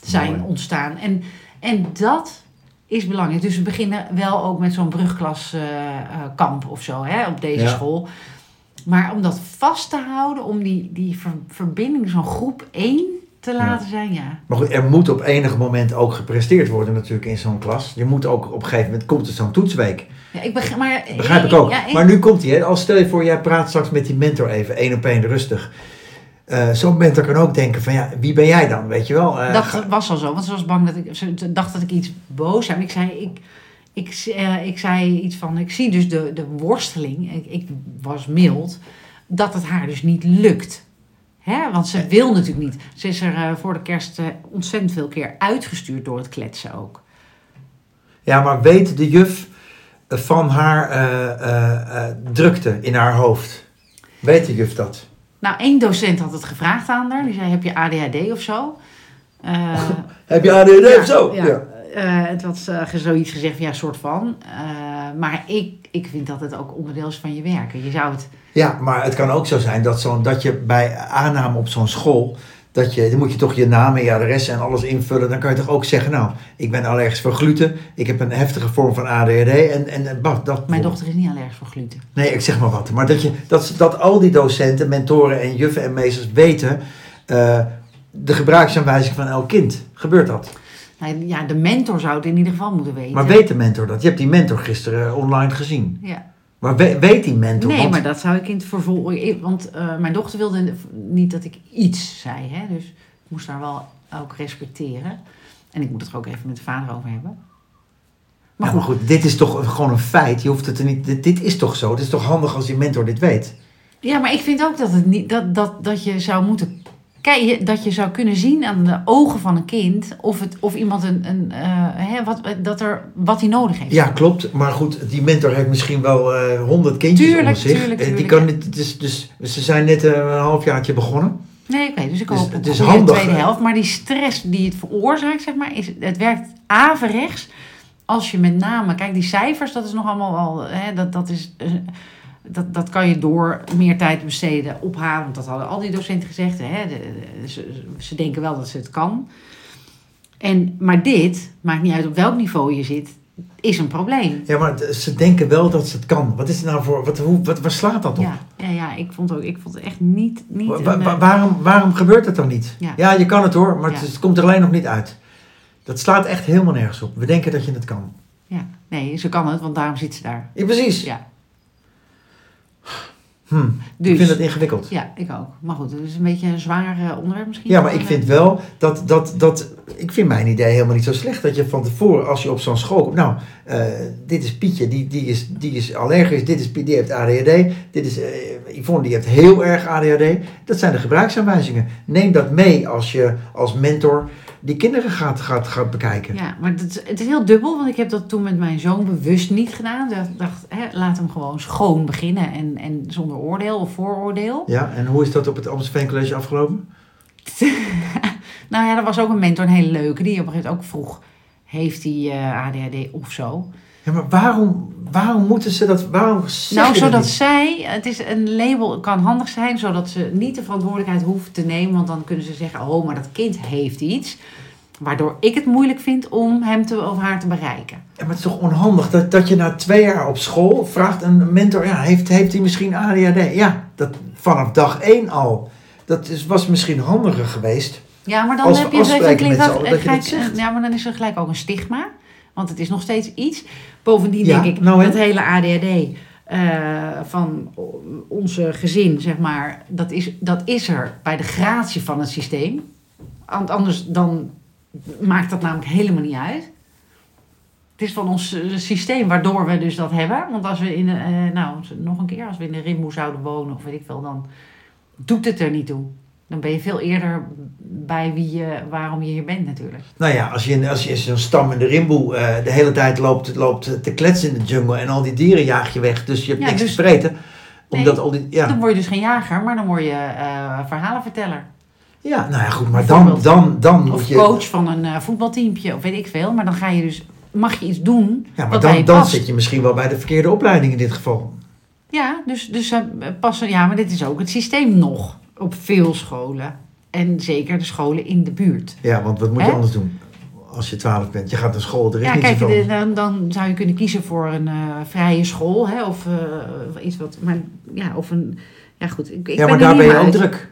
Speaker 2: zijn
Speaker 1: Mooi.
Speaker 2: ontstaan. En, en dat is belangrijk. Dus we beginnen wel ook met zo'n brugklaskamp of zo hè, op deze
Speaker 1: Ja.
Speaker 2: school. Maar om dat vast te houden, om die, die ver- verbinding, zo'n groep één te laten zijn, ja.
Speaker 1: Maar goed, er moet op enig moment ook gepresteerd worden natuurlijk in zo'n klas. Je moet ook op een gegeven moment, komt er zo'n toetsweek.
Speaker 2: ja ik begrijp, maar, eh,
Speaker 1: Begrijp ik ook.
Speaker 2: Ja, ik-
Speaker 1: Maar nu komt hij. hè. Als stel je voor, jij praat straks met die mentor even, één op één rustig. Eh, zo'n mentor kan ook denken van, ja, wie ben jij dan, weet je wel? Eh, ga-
Speaker 2: dat was al zo, want ze was bang dat ik, ze dacht dat ik iets boos heb. Ik zei, ik, ik, z- eh, ik zei iets van, ik zie dus de, de worsteling, ik, ik was mild, dat het haar dus niet lukt. Hè? Want ze wil natuurlijk niet. Ze is er eh, voor de kerst eh, ontzettend veel keer uitgestuurd door het kletsen ook.
Speaker 1: Ja, maar weet de juf van haar eh, eh, eh, drukte in haar hoofd? Weet de juf dat?
Speaker 2: Nou, één docent had het gevraagd aan haar. Die zei, heb je ADHD of zo? Eh,
Speaker 1: Heb je ADD
Speaker 2: Ja,
Speaker 1: of zo?
Speaker 2: ja.
Speaker 1: Ja.
Speaker 2: Eh, eh, het was eh, ge- zoiets gezegd van ja, soort van. Eh, maar ik, ik vind dat het ook onderdeel is van je werken. Je zou het...
Speaker 1: Ja, maar het kan ook zo zijn dat, zo'n dat je bij aanname op zo'n school. Dat je, dan moet je toch je naam en je adres en alles invullen. Dan kan je toch ook zeggen, nou, ik ben allergisch voor gluten. Ik heb een heftige vorm van ADHD. En, en eh, bah, dat...
Speaker 2: Mijn dochter is niet allergisch voor gluten.
Speaker 1: Nee, ik zeg maar wat. Maar dat, je, dat, ze- dat al die docenten, mentoren en juffen en meesters weten... eh, de gebruiksaanwijzing van elk kind. Gebeurt dat?
Speaker 2: Nou, ja, de mentor zou het in ieder geval moeten weten.
Speaker 1: Maar weet de mentor dat? Je hebt die mentor gisteren online gezien.
Speaker 2: Ja.
Speaker 1: Maar we- weet die mentor?
Speaker 2: Nee,
Speaker 1: want-
Speaker 2: maar dat zou ik in het vervolg. ik- Want eh, mijn dochter wilde niet dat ik iets zei. Hè? Dus ik moest haar wel ook respecteren. En ik moet het er ook even met de vader over hebben. Maar
Speaker 1: Ja, maar
Speaker 2: goed,
Speaker 1: goed, dit is toch gewoon een feit. Je hoeft het er niet. Dit, dit is toch zo. Het is toch handig als die mentor dit weet.
Speaker 2: ja, maar ik vind ook dat, het niet, dat, dat, dat je zou moeten kijken. Dat je zou kunnen zien aan de ogen van een kind. Of, het, of iemand een. een eh, hè, wat, dat er, wat hij nodig heeft.
Speaker 1: Ja, klopt. Maar goed, die mentor heeft misschien wel eh, honderd kindjes
Speaker 2: Tuurlijk,
Speaker 1: onder zich.
Speaker 2: tuurlijk,
Speaker 1: Eh, die
Speaker 2: tuurlijk,
Speaker 1: kan
Speaker 2: ja.
Speaker 1: niet. het is- dus, ze zijn net eh, een halfjaartje begonnen.
Speaker 2: Nee, oké, dus ik
Speaker 1: Dus
Speaker 2: hoop
Speaker 1: het
Speaker 2: op
Speaker 1: is
Speaker 2: de
Speaker 1: handig,
Speaker 2: tweede
Speaker 1: hè?
Speaker 2: helft. Maar die stress die het veroorzaakt, zeg maar, is, het werkt averechts. Als je met name, kijk, die cijfers, dat is nog allemaal al, hè, dat, dat, is, eh, dat, dat kan je door meer tijd te besteden ophalen. Want dat hadden al die docenten gezegd. Hè, de- de- ze, ze denken wel dat ze het kan. En, maar dit, maakt niet uit op welk niveau je zit, is een probleem.
Speaker 1: Ja, maar het- ze denken wel dat ze het kan. Wat is het nou voor. Wat, hoe, wat, waar slaat dat op?
Speaker 2: Ja, ja, ja, ik vond, ook, ik vond het echt niet. niet
Speaker 1: Wa-
Speaker 2: een,
Speaker 1: wa-
Speaker 2: eh,
Speaker 1: wa- waarom, waarom gebeurt het dan niet?
Speaker 2: Ja.
Speaker 1: je kan het hoor, maar
Speaker 2: Ja.
Speaker 1: het, het komt er alleen nog niet uit. Dat slaat echt helemaal nergens op. We denken dat je het kan.
Speaker 2: ja, nee, ze kan het, want daarom zit ze daar.
Speaker 1: Ja, precies.
Speaker 2: Ja.
Speaker 1: Hm,
Speaker 2: Dus,
Speaker 1: Ik vind het ingewikkeld.
Speaker 2: Ja, ik ook. Maar goed, het is een beetje een zwaar eh, onderwerp misschien. Eh,
Speaker 1: Ja, maar ik vind wel dat, dat, dat. Ik vind mijn idee helemaal niet zo slecht. Dat je van tevoren, als je op zo'n school komt. Nou, eh, dit is Pietje, die, die, is, die is allergisch. Dit is Piet, die heeft ADHD. Dit is eh, Yvonne, die heeft heel erg ADHD. Dat zijn de gebruiksaanwijzingen. Neem dat mee als je als mentor die kinderen gaat, gaat, gaat bekijken.
Speaker 2: Ja, maar het is, het is heel dubbel, want ik heb dat toen met mijn zoon bewust niet gedaan. Ik dacht, hè, laat hem gewoon schoon beginnen en, en zonder oordeel of vooroordeel.
Speaker 1: Ja, en hoe is dat op het Amsterdam College afgelopen?
Speaker 2: Nou ja, er was ook een mentor, een hele leuke, die op een gegeven moment ook vroeg... heeft hij eh, ADHD of zo?
Speaker 1: Ja, maar waarom, waarom moeten ze dat? Waarom
Speaker 2: nou,
Speaker 1: zeggen ze
Speaker 2: zodat
Speaker 1: dat? niet?
Speaker 2: zij... Het is een label, het kan handig zijn, zodat ze niet de verantwoordelijkheid hoeft te nemen. Want dan kunnen ze zeggen, oh, maar dat kind heeft iets. Waardoor ik het moeilijk vind om hem te, of haar te bereiken.
Speaker 1: Ja, maar het is toch onhandig dat, dat je na twee jaar op school vraagt een mentor, ja, heeft, heeft hij misschien ADHD? Ja, dat vanaf dag één al. Dat is, was misschien handiger geweest.
Speaker 2: Ja, maar dan
Speaker 1: Als we
Speaker 2: heb je
Speaker 1: afspreken
Speaker 2: zeker klinkt
Speaker 1: met z'n
Speaker 2: dat,
Speaker 1: allen dat je
Speaker 2: gelijk-
Speaker 1: dat zegt.
Speaker 2: Ja, maar dan is er gelijk ook een stigma. Want het is nog steeds iets. Bovendien
Speaker 1: Ja,
Speaker 2: denk ik
Speaker 1: nou, hè?
Speaker 2: dat hele ADHD eh, van o- onze gezin, zeg maar, dat is, dat is er bij de gratie van het systeem. Want anders dan maakt dat namelijk helemaal niet uit. Het is van ons eh, systeem waardoor we dus dat hebben. Want als we in, eh, nou, nog een keer, als we in de Rimboe zouden wonen of weet ik veel, dan doet het er niet toe. Dan ben je veel eerder bij wie je, waarom je hier bent natuurlijk.
Speaker 1: Nou ja, als je, in- als je in zo'n stam in de rimboe eh, de hele tijd loopt, loopt te kletsen in de jungle en al die dieren jaag je weg, dus je hebt
Speaker 2: Ja,
Speaker 1: niks
Speaker 2: dus-
Speaker 1: te vreten.
Speaker 2: Nee.
Speaker 1: Omdat al die, ja.
Speaker 2: Dan word je dus geen jager, maar dan word je eh, verhalenverteller.
Speaker 1: ja, nou ja, goed, maar dan,
Speaker 2: Bijvoorbeeld.
Speaker 1: dan, dan
Speaker 2: Of
Speaker 1: moet je...
Speaker 2: coach van een eh voetbalteampje, of weet ik veel. Maar dan ga je dus, mag je iets doen
Speaker 1: Ja, maar
Speaker 2: wat bij
Speaker 1: dan,
Speaker 2: je
Speaker 1: dan
Speaker 2: past.
Speaker 1: zit je misschien wel bij de verkeerde opleiding in dit geval.
Speaker 2: Ja, dus, dus eh, passen, ja, maar dit is ook het systeem nog op veel scholen. En zeker de scholen in de buurt.
Speaker 1: Ja, want wat moet je
Speaker 2: Hè?
Speaker 1: anders doen als je twaalf bent? Je gaat naar school, er is
Speaker 2: Ja,
Speaker 1: niet
Speaker 2: kijk,
Speaker 1: zoveel.
Speaker 2: de- dan, dan zou je kunnen kiezen voor een eh, vrije school. Hè, of eh, iets wat, maar ja, of een, ja goed. Ik,
Speaker 1: ja,
Speaker 2: ik ben
Speaker 1: maar
Speaker 2: er
Speaker 1: daar
Speaker 2: niet
Speaker 1: ben je
Speaker 2: meer
Speaker 1: ook
Speaker 2: uit.
Speaker 1: druk.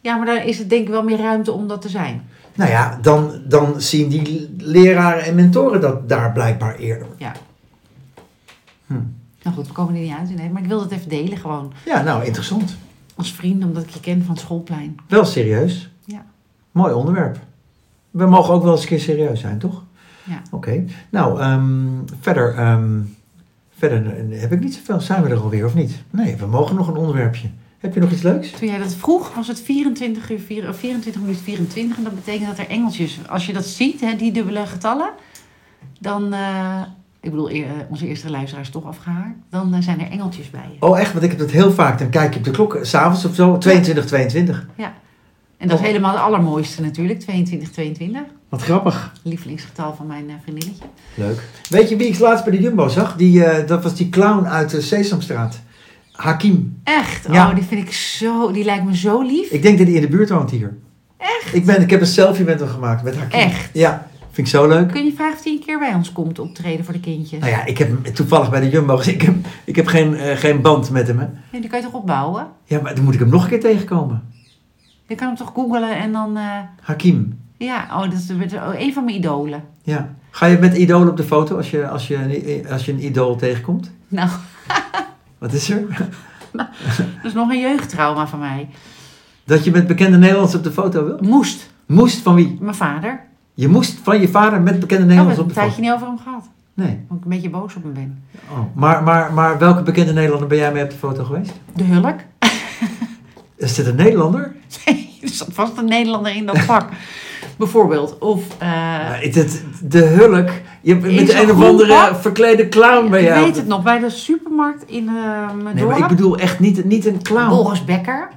Speaker 2: Ja, maar daar is het denk ik wel meer ruimte om dat te zijn.
Speaker 1: Nou ja, dan, dan zien die leraren en mentoren dat daar blijkbaar eerder.
Speaker 2: Ja.
Speaker 1: Hm.
Speaker 2: Nou goed, we komen er niet uit. Nee, maar ik wil dat even delen gewoon.
Speaker 1: Ja, nou, interessant.
Speaker 2: Als vriend, omdat ik je ken van het schoolplein.
Speaker 1: Wel serieus.
Speaker 2: Ja.
Speaker 1: Mooi onderwerp. We mogen ook wel eens een keer serieus zijn, toch?
Speaker 2: Ja.
Speaker 1: Oké. Nou, ehm, verder, ehm, verder eh, heb ik niet zoveel. Zijn we er alweer of niet? Nee, we mogen nog een onderwerpje. Heb je nog iets leuks?
Speaker 2: Toen jij dat vroeg, was het 24 uur, vier- of 24 minuten 24. En dat betekent dat er engeltjes... Als je dat ziet, hè, die dubbele getallen... Dan... eh, ik bedoel, eer- eh, onze eerste luisteraar is toch afgehaakt. Dan eh, zijn er engeltjes bij je.
Speaker 1: Oh, echt? Want ik heb dat heel vaak. Dan kijk je op de klok, eh, s'avonds of zo, 22, 22.
Speaker 2: Ja. En En dat is
Speaker 1: Oh.
Speaker 2: helemaal het allermooiste natuurlijk, 22, 22.
Speaker 1: Wat grappig.
Speaker 2: Lievelingsgetal van mijn eh, vriendinnetje.
Speaker 1: Leuk. Weet je wie ik laatst bij de Jumbo zag? Die, eh, dat was die clown uit de Sesamstraat. Hakim.
Speaker 2: Echt?
Speaker 1: Ja.
Speaker 2: Oh, die vind ik zo, die lijkt me zo lief.
Speaker 1: Ik denk dat hij in de buurt woont hier. Echt? Ik, ben, ik heb een selfie met hem gemaakt, met Hakim.
Speaker 2: Echt?
Speaker 1: Ja, vind ik zo leuk.
Speaker 2: Kun je vragen of die een keer bij ons komt optreden voor de kindjes?
Speaker 1: Nou ja, ik heb hem toevallig bij de Jumbo gezien. Ik heb, ik heb geen, eh, geen band met hem. Hè.
Speaker 2: Nee, die kan je toch opbouwen?
Speaker 1: Ja, maar dan moet ik hem nog een keer tegenkomen.
Speaker 2: Je kan hem toch googelen en dan... eh,
Speaker 1: Hakim.
Speaker 2: ja, oh, dat is een van mijn idolen.
Speaker 1: Ja. Ga je met idool op de foto als je, als je, een- als je een idool tegenkomt?
Speaker 2: Nou,
Speaker 1: Wat is er?
Speaker 2: dat is nog een jeugdtrauma van mij.
Speaker 1: Dat je met bekende Nederlanders op de foto wil?
Speaker 2: Moest,
Speaker 1: Moest van wie?
Speaker 2: mijn vader.
Speaker 1: Je moest van je vader met bekende
Speaker 2: Oh, we hebben
Speaker 1: Nederlanders
Speaker 2: het
Speaker 1: op
Speaker 2: een
Speaker 1: de foto.
Speaker 2: tijdje niet over hem gehad.
Speaker 1: Nee.
Speaker 2: Omdat ik een beetje boos op hem ben.
Speaker 1: Oh. Maar, maar, maar welke bekende Nederlander ben jij mee op de foto geweest?
Speaker 2: De Hulk?
Speaker 1: Is dit een Nederlander?
Speaker 2: Nee, er zat vast een Nederlander in dat vak. Bijvoorbeeld. Of, eh,
Speaker 1: Maar het- het- de hulk. Je hebt
Speaker 2: In
Speaker 1: met de
Speaker 2: zo'n
Speaker 1: een of
Speaker 2: groen
Speaker 1: andere
Speaker 2: pak?
Speaker 1: verklede clown bij
Speaker 2: ik
Speaker 1: jou.
Speaker 2: weet het nog, bij de supermarkt in eh mijn
Speaker 1: Nee, maar ik
Speaker 2: dorp.
Speaker 1: bedoel echt niet, niet een clown.
Speaker 2: Boris Becker.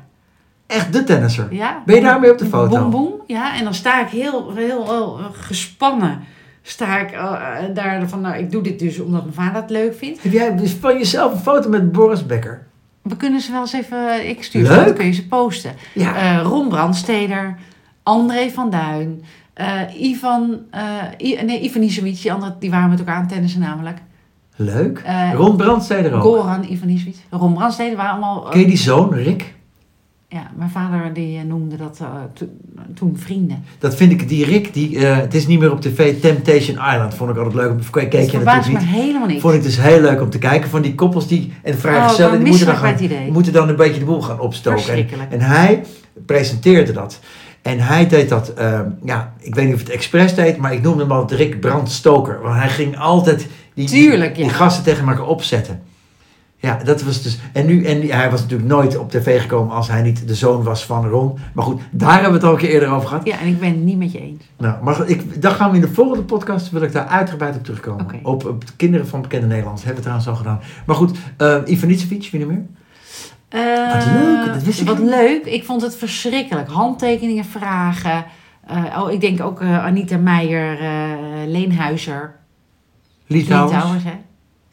Speaker 1: Echt de tennisser.
Speaker 2: Ja.
Speaker 1: Ben je daarmee op de foto?
Speaker 2: Boem, boem. Ja, en dan sta ik heel, heel, heel, eh, gespannen. Sta ik eh, eh, daar van, nou, ik doe dit dus omdat mijn vader het leuk vindt.
Speaker 1: Heb jij dus van jezelf een foto met Boris Becker?
Speaker 2: We kunnen ze wel eens even, ik stuur
Speaker 1: Leuk.
Speaker 2: ze, dan kun je ze posten.
Speaker 1: Ja.
Speaker 2: Eh, Ron Brandsteder, André van Duin, eh, Ivan, eh, I- nee, Ivan Isevic, die, andere- die waren met elkaar aan het tennissen namelijk.
Speaker 1: Leuk.
Speaker 2: Eh,
Speaker 1: Ron Brandt zei er ook.
Speaker 2: Goran Ivanisevic. Ron Brandstede waren allemaal... eh,
Speaker 1: Ken je die zoon, Rick?
Speaker 2: ja, mijn vader die eh, noemde dat eh, to- toen vrienden.
Speaker 1: Dat vind ik, die Rick, die, eh, het is niet meer op tv, Temptation Island vond ik altijd leuk. om- Keek
Speaker 2: Dat
Speaker 1: je natuurlijk
Speaker 2: verbaast me
Speaker 1: niet.
Speaker 2: helemaal niet.
Speaker 1: Vond ik dus heel leuk om te kijken van die koppels die, en vrijgezellen,
Speaker 2: Oh,
Speaker 1: die moeten dan,
Speaker 2: misselijk bij het
Speaker 1: gaan-
Speaker 2: idee.
Speaker 1: moeten dan een beetje de boel gaan opstoken. En,
Speaker 2: Verschrikkelijk.
Speaker 1: en hij presenteerde dat. En hij deed dat, eh, ja, ik weet niet of het expres deed, maar ik noemde hem altijd Rick Brandstoker. Want hij ging altijd die, die-
Speaker 2: Tuurlijk, ja.
Speaker 1: die gasten tegen elkaar opzetten. Ja, dat was dus. En, nu, en die- hij was natuurlijk nooit op tv gekomen als hij niet de zoon was van Ron. Maar goed, daar hebben we het al een keer eerder over gehad.
Speaker 2: Ja, en ik ben het niet met je eens.
Speaker 1: Nou, maar goed, ik, dan gaan we in de volgende podcast, wil ik daar uitgebreid op terugkomen.
Speaker 2: Oké.
Speaker 1: Op, op de kinderen van bekende Nederlands, hebben we trouwens al gedaan. Maar goed, eh Ivan Nitsevich, wie nog meer?
Speaker 2: Eh,
Speaker 1: Wat leuk, dat wist ik
Speaker 2: Wat
Speaker 1: niet.
Speaker 2: leuk, ik vond het verschrikkelijk. Handtekeningen vragen. Eh, oh, ik denk ook eh, Anita Meijer, eh, Leenhuizer.
Speaker 1: Litouwers.
Speaker 2: Litouwers, hè?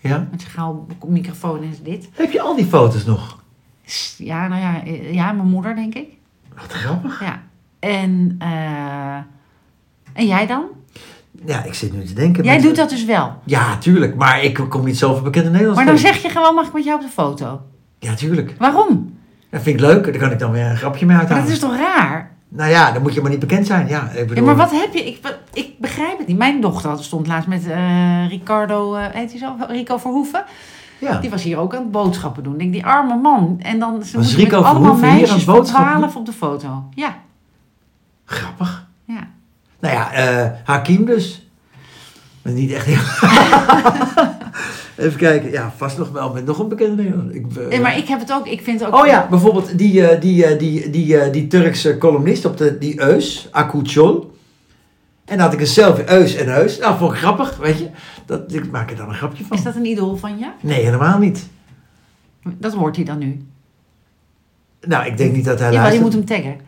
Speaker 1: Ja.
Speaker 2: Met zijn gouden microfoon en dit.
Speaker 1: Heb je al die foto's nog?
Speaker 2: S- Ja, nou ja, eh, ja, mijn moeder, denk ik.
Speaker 1: Wat grappig.
Speaker 2: Ja. En, eh, en jij dan?
Speaker 1: Ja, ik zit nu te denken.
Speaker 2: Jij
Speaker 1: met-
Speaker 2: doet dat dus wel.
Speaker 1: Ja, tuurlijk. Maar ik kom niet zoveel bekende Nederlands
Speaker 2: Maar dan
Speaker 1: tegen.
Speaker 2: zeg je gewoon, mag ik met jou op de foto?
Speaker 1: Ja, tuurlijk.
Speaker 2: Waarom?
Speaker 1: Dat vind ik leuk. Daar kan ik dan weer een grapje mee
Speaker 2: Maar
Speaker 1: uithalen.
Speaker 2: dat is toch raar?
Speaker 1: Nou ja, dan moet je maar niet bekend zijn. Ja, ik bedoel...
Speaker 2: Ja, maar wat heb je? Ik, be- ik begrijp het niet. Mijn dochter had- stond laatst met eh, Ricardo, eh, heet hij zo? Rico Verhoeven.
Speaker 1: Ja.
Speaker 2: Die was hier ook aan het boodschappen doen. Ik denk, die arme man. En dan ze
Speaker 1: Was
Speaker 2: moeten
Speaker 1: Rico
Speaker 2: met allemaal
Speaker 1: Verhoeven hier aan het
Speaker 2: meisjes van
Speaker 1: boodschappen doen?
Speaker 2: 12 op de foto. Ja,
Speaker 1: Grappig.
Speaker 2: ja.
Speaker 1: Nou ja, eh Hakim dus. Maar niet echt heel... Even kijken. Ja, vast nog wel met nog een bekende Nederlander. Ik, eh,
Speaker 2: Nee, maar ik heb het ook. Ik vind het ook.
Speaker 1: Oh ja, bijvoorbeeld die, eh, die, eh, die, die, eh, die Turkse columnist op de, die Eus, Akutjol. En dan had ik een selfie, Eus en Eus. Nou, vond ik grappig, weet je. Dat, ik maak er dan een grapje van.
Speaker 2: Is dat een idool van je?
Speaker 1: Nee, helemaal niet.
Speaker 2: Dat hoort hij dan nu.
Speaker 1: Nou, ik denk niet dat hij
Speaker 2: Jawel, je
Speaker 1: luistert.
Speaker 2: moet hem taggen.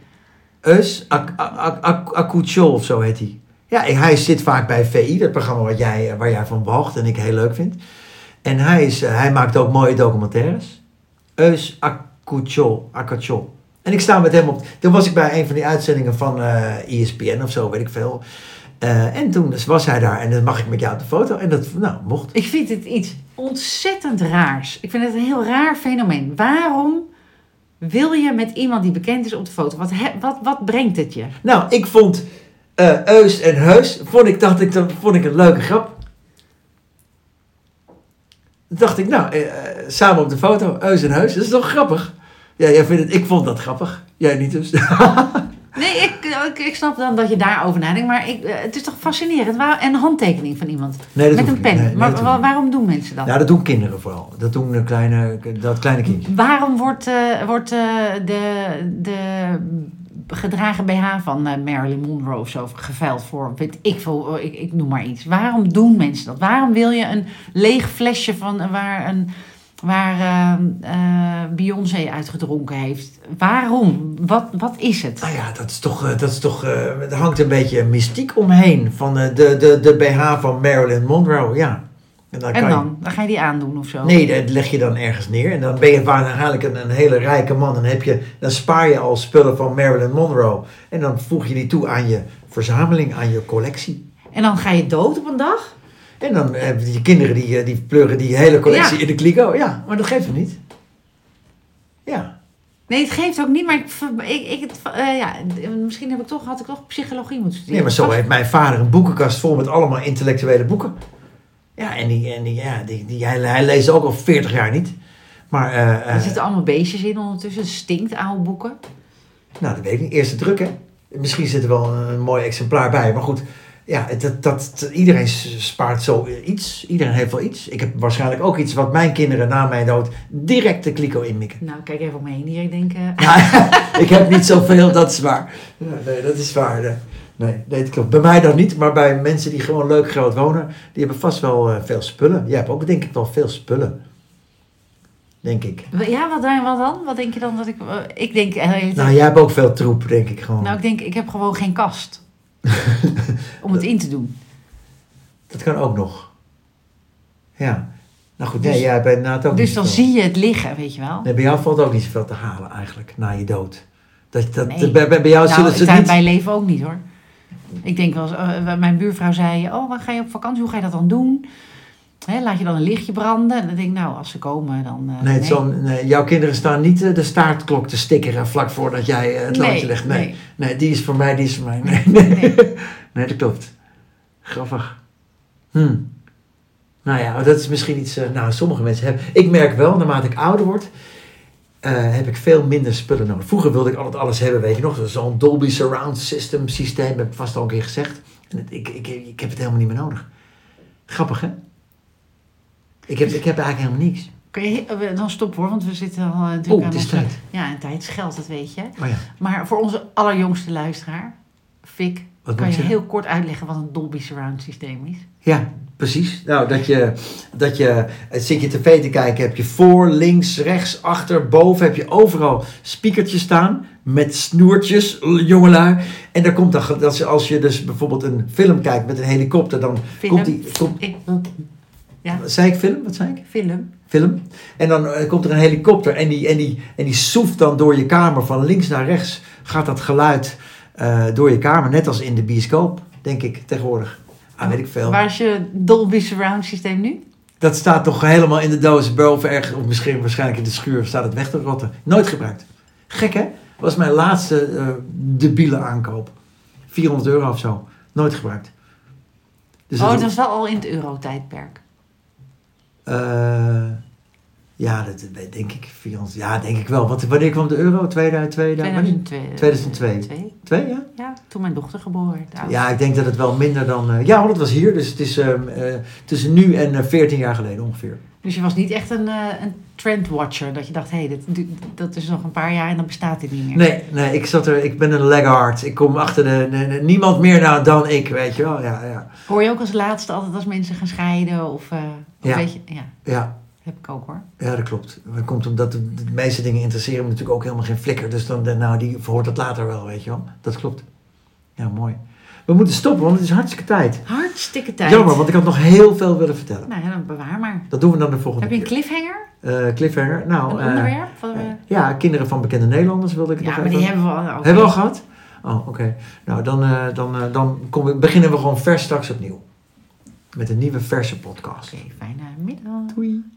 Speaker 1: Eus Ak- Ak- Ak- Ak- Akutjol of zo heet hij. Ja, ik- hij zit vaak bij VI, dat programma wat jij, eh, waar jij van walgt en ik heel leuk vind. En hij, is, eh, hij maakt ook mooie documentaires. Eus Akutjol, Akutjol. En ik sta met hem op... Toen was ik bij een van die uitzendingen van eh ESPN of zo, weet ik veel. Eh, en toen dus was hij daar en dan mag ik met jou op de foto. En dat, nou, mocht.
Speaker 2: Ik vind het iets ontzettend raars. Ik vind het een heel raar fenomeen. Waarom wil je met iemand die bekend is op de foto? Wat, he- wat, wat brengt het je?
Speaker 1: Nou, ik vond eh, Eus en Heus, vond ik, dacht ik, dat vond ik een leuke grap. Dacht ik, nou, eh, eh, samen op de foto, Eus en Heus, dat is toch grappig? Ja, jij vindt het, ik vond dat grappig. Jij niet dus.
Speaker 2: Nee, ik, ik, ik snap dan dat je daarover nadenkt. Maar ik, eh, het is toch fascinerend? Waar, en een handtekening van iemand.
Speaker 1: Nee, dat hoeft
Speaker 2: met een
Speaker 1: niet.
Speaker 2: pen.
Speaker 1: Nee, nee,
Speaker 2: maar
Speaker 1: dat
Speaker 2: wa-
Speaker 1: hoeft niet.
Speaker 2: waarom doen mensen dat?
Speaker 1: Nou, dat doen kinderen vooral. Dat doen de kleine, dat kleine kindje.
Speaker 2: Waarom wordt, eh, wordt eh, de, de gedragen BH van eh, Marilyn Monroe of zo geveild voor, weet ik veel, eh, ik, ik noem maar iets. Waarom doen mensen dat? Waarom wil je een leeg flesje van eh, waar een waar eh, eh, Beyoncé uitgedronken heeft. Waarom? Wat, wat is het?
Speaker 1: Nou ja, dat is toch, eh, dat is toch eh, er hangt een beetje mystiek omheen van eh, de, de, de BH van Marilyn Monroe, ja. En dan
Speaker 2: En
Speaker 1: kan je-
Speaker 2: dan? Dan ga je die aandoen of zo?
Speaker 1: Nee, dat leg je dan ergens neer. En dan ben je waarschijnlijk een, een hele rijke man. Dan, heb je, dan spaar je al spullen van Marilyn Monroe. En dan voeg je die toe aan je verzameling, aan je collectie.
Speaker 2: En dan ga je dood op een dag?
Speaker 1: En dan hebben je kinderen die, eh, die pleuren die hele collectie
Speaker 2: Ja.
Speaker 1: in de kliko. Ja, maar dat geeft hem niet. Ja.
Speaker 2: Nee, het geeft ook niet, maar ik, ver- ik, ik het, eh, ja, d- misschien heb ik toch, had ik toch psychologie moeten studeren.
Speaker 1: Nee, maar zo
Speaker 2: Pas-
Speaker 1: heeft mijn vader een boekenkast vol met allemaal intellectuele boeken. Ja, en, die, en die, ja, die, die, hij, hij leest ook al 40 jaar niet. Maar, eh, eh,
Speaker 2: Er zitten allemaal beestjes in ondertussen. Het stinkt oude boeken.
Speaker 1: Nou, dat weet ik niet. Eerste druk, hè? Misschien zit er wel een, een mooi exemplaar bij. Maar goed, ja, het- dat, dat, iedereen s- spaart zo iets. Iedereen heeft wel iets. Ik heb waarschijnlijk ook iets wat mijn kinderen na mijn dood direct de kliko inmikken.
Speaker 2: Nou, kijk even om me heen hier. Ik denk, eh,
Speaker 1: Ja, ik heb niet zoveel, dat is waar. Ja, nee, dat is waar. Nee, nee, nee, dat klopt. Bij mij dan niet, maar bij mensen die gewoon leuk groot wonen, die hebben vast wel eh, veel spullen. Jij hebt ook denk ik wel veel spullen. Denk ik.
Speaker 2: w- ja, wat, dan- wat dan? Wat denk je dan dat ik... eh, ik denk... eh,
Speaker 1: Nou, jij hebt ook veel troep, denk ik gewoon.
Speaker 2: nou, ik denk, ik heb gewoon geen kast. om het in te doen.
Speaker 1: Dat kan ook nog. Ja. Nou goed,
Speaker 2: Dus-
Speaker 1: nee, jij bent na het ook
Speaker 2: Dus
Speaker 1: niet
Speaker 2: dan
Speaker 1: zoveel.
Speaker 2: zie je het liggen, weet je wel.
Speaker 1: Nee, bij jou valt ook niet zoveel te halen eigenlijk, na je dood. Dat, dat,
Speaker 2: Nee.
Speaker 1: bij, bij bij jou
Speaker 2: Nou,
Speaker 1: zullen
Speaker 2: het
Speaker 1: ze
Speaker 2: zijn
Speaker 1: niet...
Speaker 2: bij leven ook niet hoor. Ik denk wel eens, eh, mijn buurvrouw zei, oh, waar ga je op vakantie? Hoe ga je dat dan doen? Hè, laat je dan een lichtje branden? En dan denk ik, nou, als ze komen, dan... eh,
Speaker 1: Nee, het zal- nee, jouw kinderen staan niet eh, de staartklok te stikkeren vlak voordat jij eh, het
Speaker 2: Nee,
Speaker 1: loodje legt. Nee.
Speaker 2: nee.
Speaker 1: nee. die is voor mij, die is voor mij. Nee, nee.
Speaker 2: Nee.
Speaker 1: nee dat klopt. Grappig. Hm. Nou ja, dat is misschien iets... eh, nou, sommige mensen hebben... Ik merk wel, naarmate ik ouder word... eh, heb ik veel minder spullen nodig. Vroeger wilde ik altijd alles hebben, weet je nog. Zo'n Dolby Surround System systeem, heb ik vast al een keer gezegd. En het- ik, ik, ik heb het helemaal niet meer nodig. Grappig, hè? Ik heb, ik heb eigenlijk helemaal niks.
Speaker 2: Kun je, eh, dan stop hoor, want we zitten al eh, natuurlijk
Speaker 1: Oh,
Speaker 2: aan
Speaker 1: het is
Speaker 2: onze-
Speaker 1: tijd.
Speaker 2: Ja, en tijd is geld, dat weet je.
Speaker 1: Oh ja.
Speaker 2: Maar voor onze allerjongste luisteraar, Fik,
Speaker 1: Wat
Speaker 2: kan
Speaker 1: moet
Speaker 2: je
Speaker 1: je
Speaker 2: heel kort uitleggen wat een Dolby Surround systeem is?
Speaker 1: Ja, precies. Nou, dat je, dat je eh, zit je tv te kijken, heb je voor, links, rechts, achter, boven, heb je overal spiekertjes staan met snoertjes, l- jongelui. En daar komt dan, ge- dat ze, als je dus bijvoorbeeld een film kijkt met een helikopter, dan
Speaker 2: Film.
Speaker 1: komt die... Komt,
Speaker 2: Ik,
Speaker 1: zei ik film? Wat zei ik?
Speaker 2: film.
Speaker 1: Film. En dan eh, komt er een helikopter en die, en, die, en die soeft dan door je kamer van links naar rechts. Gaat dat geluid eh, door je kamer, net als in de bioscoop, denk ik tegenwoordig. Ah, weet ik veel.
Speaker 2: Waar is je Dolby Surround systeem nu?
Speaker 1: Dat staat toch helemaal in de doos boven ergens, of misschien waarschijnlijk in de schuur, staat het weg te rotten. Nooit gebruikt. Gek hè? Was mijn laatste eh debiele aankoop. 400 euro of zo. Nooit gebruikt. Dus
Speaker 2: oh,
Speaker 1: dat-
Speaker 2: dat is wel al in het euro-tijdperk.
Speaker 1: eh, ja, dat dat denk ik. 400, ja, denk ik wel. Wat, wanneer kwam de euro? 2000, 2000, wanneer?
Speaker 2: 2002.
Speaker 1: 2002. Twee, ja?
Speaker 2: Ja, toen mijn dochter geboren werd. Ja.
Speaker 1: Ja, ik denk dat het wel minder dan... eh, ja, want het was hier. Dus het is ehm, eh, tussen nu en eh, 14 jaar geleden ongeveer.
Speaker 2: Dus je was niet echt een, eh, een trendwatcher. Dat je dacht, hé, hey, dat, dat is nog een paar jaar en dan bestaat dit niet meer.
Speaker 1: Nee, nee, ik zat er, ik ben een laggard. Ik kom achter de, de- de- niemand meer na dan ik, weet je wel. Ja, ja,
Speaker 2: Hoor je ook als laatste altijd als mensen gaan scheiden? Of, eh, of
Speaker 1: Ja.
Speaker 2: weet je, ja,
Speaker 1: ja,
Speaker 2: heb ik ook hoor.
Speaker 1: ja, dat klopt. Dat komt omdat de, de meeste dingen interesseren me natuurlijk ook helemaal geen flikker. Dus dan, dan- nou, die verhoort dat later wel, weet je wel. Dat klopt. Ja, mooi. We moeten stoppen, want het is hartstikke tijd.
Speaker 2: Hartstikke tijd.
Speaker 1: Jammer, want ik had nog heel veel willen vertellen.
Speaker 2: Nou ja, dan bewaar maar.
Speaker 1: Dat doen we dan de volgende
Speaker 2: Heb je een
Speaker 1: keer.
Speaker 2: cliffhanger?
Speaker 1: Eh, cliffhanger. Nou,
Speaker 2: Een
Speaker 1: eh,
Speaker 2: onderwerp? Wat,
Speaker 1: eh,
Speaker 2: we-
Speaker 1: ja, kinderen van bekende Nederlanders wilde ik het
Speaker 2: ja,
Speaker 1: nog
Speaker 2: maar
Speaker 1: even-
Speaker 2: die hebben we al. oké.
Speaker 1: Hebben we al gehad? Oh, oké. Nou, dan, eh, dan, eh, dan kom ik, beginnen we gewoon vers straks opnieuw. Met een nieuwe verse podcast.
Speaker 2: Oké, fijne middag.
Speaker 1: Doei.